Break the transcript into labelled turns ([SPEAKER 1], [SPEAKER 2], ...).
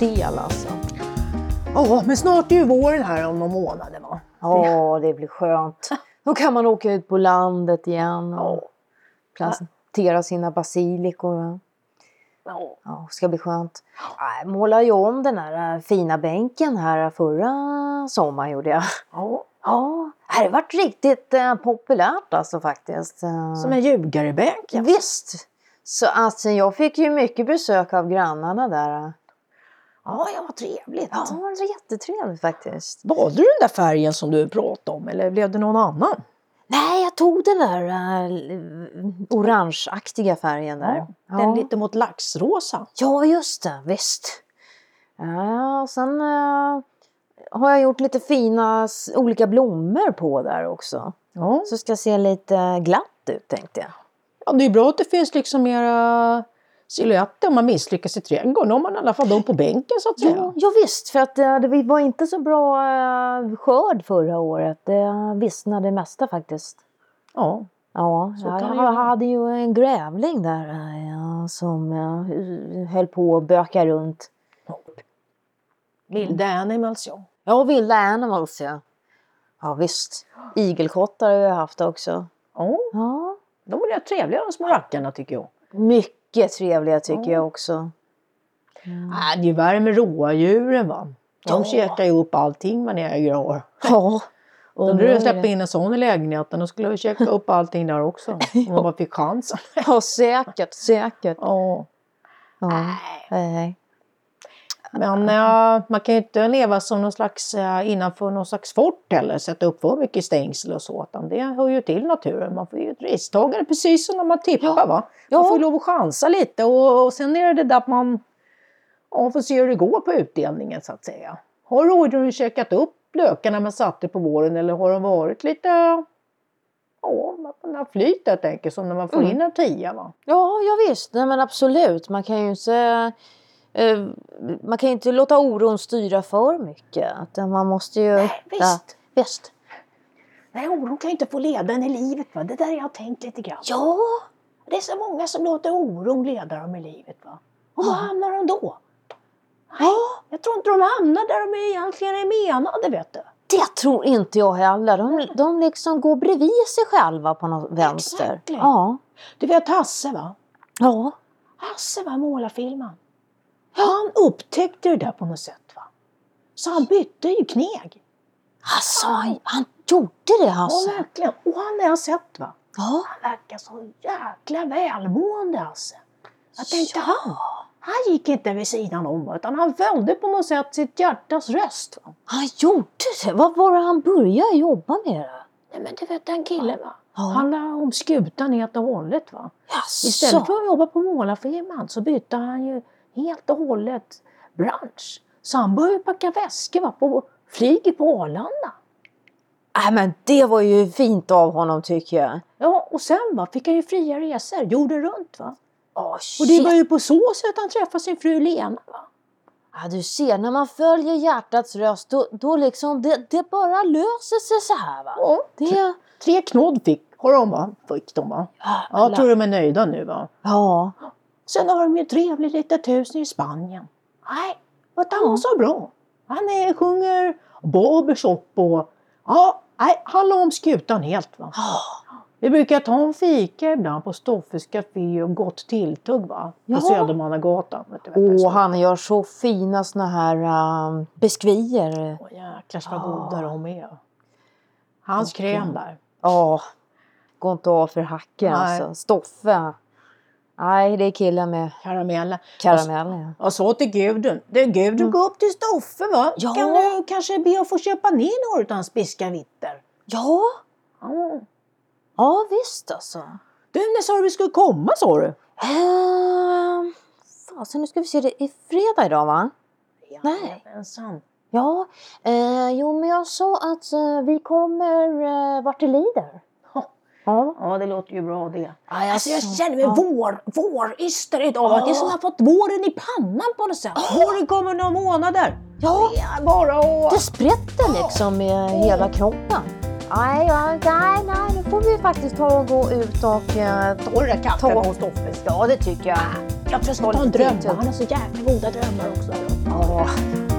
[SPEAKER 1] del alltså.
[SPEAKER 2] Ja, men snart är ju våren här om några månader va?
[SPEAKER 1] Ja, det blir skönt. Då kan man åka ut på landet igen och
[SPEAKER 2] Ja.
[SPEAKER 1] plantera sina basilikor. va?
[SPEAKER 2] Ja.
[SPEAKER 1] Ja, ska bli skönt. Jag målade ju om den här äh, fina bänken här äh, förra sommaren gjorde jag.
[SPEAKER 2] ja.
[SPEAKER 1] Ja, det har varit riktigt eh, populärt alltså faktiskt. Eh,
[SPEAKER 2] Som en ljugarebänk. ja.
[SPEAKER 1] Visst! Så alltså, jag fick ju mycket besök av grannarna där.
[SPEAKER 2] Ja, ja, vad trevligt.
[SPEAKER 1] Ja, det var jättetrevligt faktiskt.
[SPEAKER 2] Valde du den där färgen som du pratade om eller blev det någon annan?
[SPEAKER 1] Nej, jag tog den där äh, orangeaktiga färgen där. Ja,
[SPEAKER 2] Den lite mot laxrosa.
[SPEAKER 1] ja just det, visst. Ja, och sen eh, har jag gjort lite fina s- olika blommor på där också.
[SPEAKER 2] Ja.
[SPEAKER 1] Så ska se lite glatt ut tänkte jag.
[SPEAKER 2] ja, det är bra att det finns liksom mera silhuetter om man misslyckas i trädgården. Då har man i alla fall dem på bänken så att säga.
[SPEAKER 1] Ja, ja visst, för att eh, det var inte så bra eh, skörd förra året. Det vissnade det mesta faktiskt.
[SPEAKER 2] Ja.
[SPEAKER 1] Ja,
[SPEAKER 2] Så
[SPEAKER 1] jag
[SPEAKER 2] kan det ju
[SPEAKER 1] ha-
[SPEAKER 2] vara.
[SPEAKER 1] hade ju en grävling där eh, ja, som eh, höll på att böka runt.
[SPEAKER 2] Vilda animals ja.
[SPEAKER 1] Ja, vilda animals ja. Ja visst. Igelkottar har jag haft också.
[SPEAKER 2] Ja,
[SPEAKER 1] Ja.
[SPEAKER 2] de är rätt trevliga de små rackarna tycker jag.
[SPEAKER 1] Mycket trevliga tycker
[SPEAKER 2] Ja.
[SPEAKER 1] jag också.
[SPEAKER 2] Nej, det är ju värre med rådjuren va. De
[SPEAKER 1] Ja.
[SPEAKER 2] käkar ju upp allting man äger och har.
[SPEAKER 1] Ja.
[SPEAKER 2] Undrar
[SPEAKER 1] undrar
[SPEAKER 2] hur
[SPEAKER 1] hur
[SPEAKER 2] jag släpper
[SPEAKER 1] det-
[SPEAKER 2] in en sån i lägenheten. Då skulle jag käka upp allting där också. Om man bara fick chansen.
[SPEAKER 1] Ja, säkert, säkert.
[SPEAKER 2] Ja.
[SPEAKER 1] Ja. Hej, hej.
[SPEAKER 2] Men eh, man kan ju inte leva som någon slags, eh, innanför någon slags fort heller. Sätta upp för mycket stängsel och så. Utan det hör ju till naturen. Man får ju ett risktagande precis som när man tippar va. Man
[SPEAKER 1] Ja.
[SPEAKER 2] får ju lov att chansa lite. Och, och sen är det det där att man ja, får se hur det går på utdelningen så att säga. Har rådjuren käkat upp lökarna man satte på våren eller har de varit lite Ja, man har flyt helt enkelt som när man får
[SPEAKER 1] Mm.
[SPEAKER 2] in en tia va.
[SPEAKER 1] Ja, ja visst. Nej, men absolut. Man kan ju inte, eh, man kan ju inte låta oron styra för mycket. Utan man måste ju... Ja, visst.
[SPEAKER 2] Eh, Nej, oron kan ju inte få leda en i livet. Va? Det där har jag tänkt lite grann.
[SPEAKER 1] Ja,
[SPEAKER 2] Det är så många som låter oron leda dem i livet. Va? Och var
[SPEAKER 1] Ja.
[SPEAKER 2] hamnar de då? Ja, jag tror inte de hamnar där de egentligen är menade, vet du.
[SPEAKER 1] det tror inte jag heller. De, de liksom går bredvid sig själva på något vänster.
[SPEAKER 2] Exactly.
[SPEAKER 1] Ja.
[SPEAKER 2] Du vet Hasse, va?
[SPEAKER 1] Ja.
[SPEAKER 2] Hasse, va, målarfilmen. Han upptäckte det där på något sätt, va. Så han bytte ju kneg.
[SPEAKER 1] Alltså, han, han gjorde det alltså.
[SPEAKER 2] Ja, verkligen. Och han har jag sett, va.
[SPEAKER 1] Ja.
[SPEAKER 2] Han verkar så jäkla välmående, Hasse. Jag tänkte,
[SPEAKER 1] Ja.
[SPEAKER 2] han, han gick inte vid sidan om, va, utan han följde på något sätt sitt hjärtas röst. Va?
[SPEAKER 1] Han gjorde det. Vad var det han började jobba med? det?
[SPEAKER 2] Nej, men du vet den killen, va.
[SPEAKER 1] Ja.
[SPEAKER 2] Han la om skutan helt och hållet. Va? Istället
[SPEAKER 1] Jaså.
[SPEAKER 2] för att jobba på målarfirman så bytte han ju helt och hållet bransch. Så han började packa väskor va? på flyget på Arlanda.
[SPEAKER 1] Nej, men det var ju fint av honom tycker jag.
[SPEAKER 2] Ja, och sen va, fick han ju fria resor jorden runt. Va?
[SPEAKER 1] Oh,
[SPEAKER 2] Och det var ju på så sätt han träffade sin fru Lena. Va?
[SPEAKER 1] Ja, du ser, när man följer hjärtats röst, då, då liksom, det, det bara löser sig så här va.
[SPEAKER 2] Ja,
[SPEAKER 1] Det...
[SPEAKER 2] tre knodd fick, har de, va? fick de. Va? Ja, jag tror de är nöjda nu. Va?
[SPEAKER 1] ja.
[SPEAKER 2] Sen har de ju ett trevligt litet hus i Spanien. Nej, vad han var så bra. Han är, sjunger barbershop och... Ja, nej, han la om skutan helt. Va?
[SPEAKER 1] Ja.
[SPEAKER 2] Vi brukar ta en fika ibland på Stoffes Café och Gott Tilltugg va? på
[SPEAKER 1] Ja.
[SPEAKER 2] Södermannagatan. Vet du vad det är?
[SPEAKER 1] Åh, han gör så fina såna här um, biskvier.
[SPEAKER 2] Åh, jäklar vad
[SPEAKER 1] Ja.
[SPEAKER 2] goda de är. Hans
[SPEAKER 1] Verkligen.
[SPEAKER 2] kräm där.
[SPEAKER 1] Ja, går inte av för hacken
[SPEAKER 2] Nej.
[SPEAKER 1] alltså. Stoffe. Nej, det är killen med
[SPEAKER 2] Karamellen.
[SPEAKER 1] karamellen.
[SPEAKER 2] Jag sa till Gudrun, du Gudrun
[SPEAKER 1] Mm.
[SPEAKER 2] gå upp till Stoffe va?
[SPEAKER 1] Ja.
[SPEAKER 2] Kan du kanske be att få köpa ner några av hans biskavitter?
[SPEAKER 1] Ja,
[SPEAKER 2] Ja.
[SPEAKER 1] ja visst alltså.
[SPEAKER 2] Du, när sa du vi skulle komma sa du?
[SPEAKER 1] Ehm, fasen, nu ska vi se, det är fredag idag va? Nej.
[SPEAKER 2] Jajamensan.
[SPEAKER 1] Ja, eh, jo men jag sa att eh, vi kommer eh, vart det lider.
[SPEAKER 2] Ja.
[SPEAKER 1] Ja.
[SPEAKER 2] Ja, det låter ju bra det.
[SPEAKER 1] Aj,
[SPEAKER 2] Alltså jag känner mig
[SPEAKER 1] ja.
[SPEAKER 2] vår, våryster idag. Det är som att jag fått våren i pannan på något sätt. Våren kommer om några månader.
[SPEAKER 1] Ja,
[SPEAKER 2] Det är bara att...
[SPEAKER 1] det spritter liksom i hela kroppen. Nej, ja, nej, nej, nu får vi faktiskt ta och gå ut och... eh, ta-
[SPEAKER 2] Torra katten
[SPEAKER 1] Ta-
[SPEAKER 2] hos Toffe.
[SPEAKER 1] Ja, det tycker jag.
[SPEAKER 2] Jag tror jag ska
[SPEAKER 1] Ta
[SPEAKER 2] ta en
[SPEAKER 1] lite
[SPEAKER 2] dröm.
[SPEAKER 1] tid, typ.
[SPEAKER 2] Han har så jävla goda drömmar också.
[SPEAKER 1] Ja,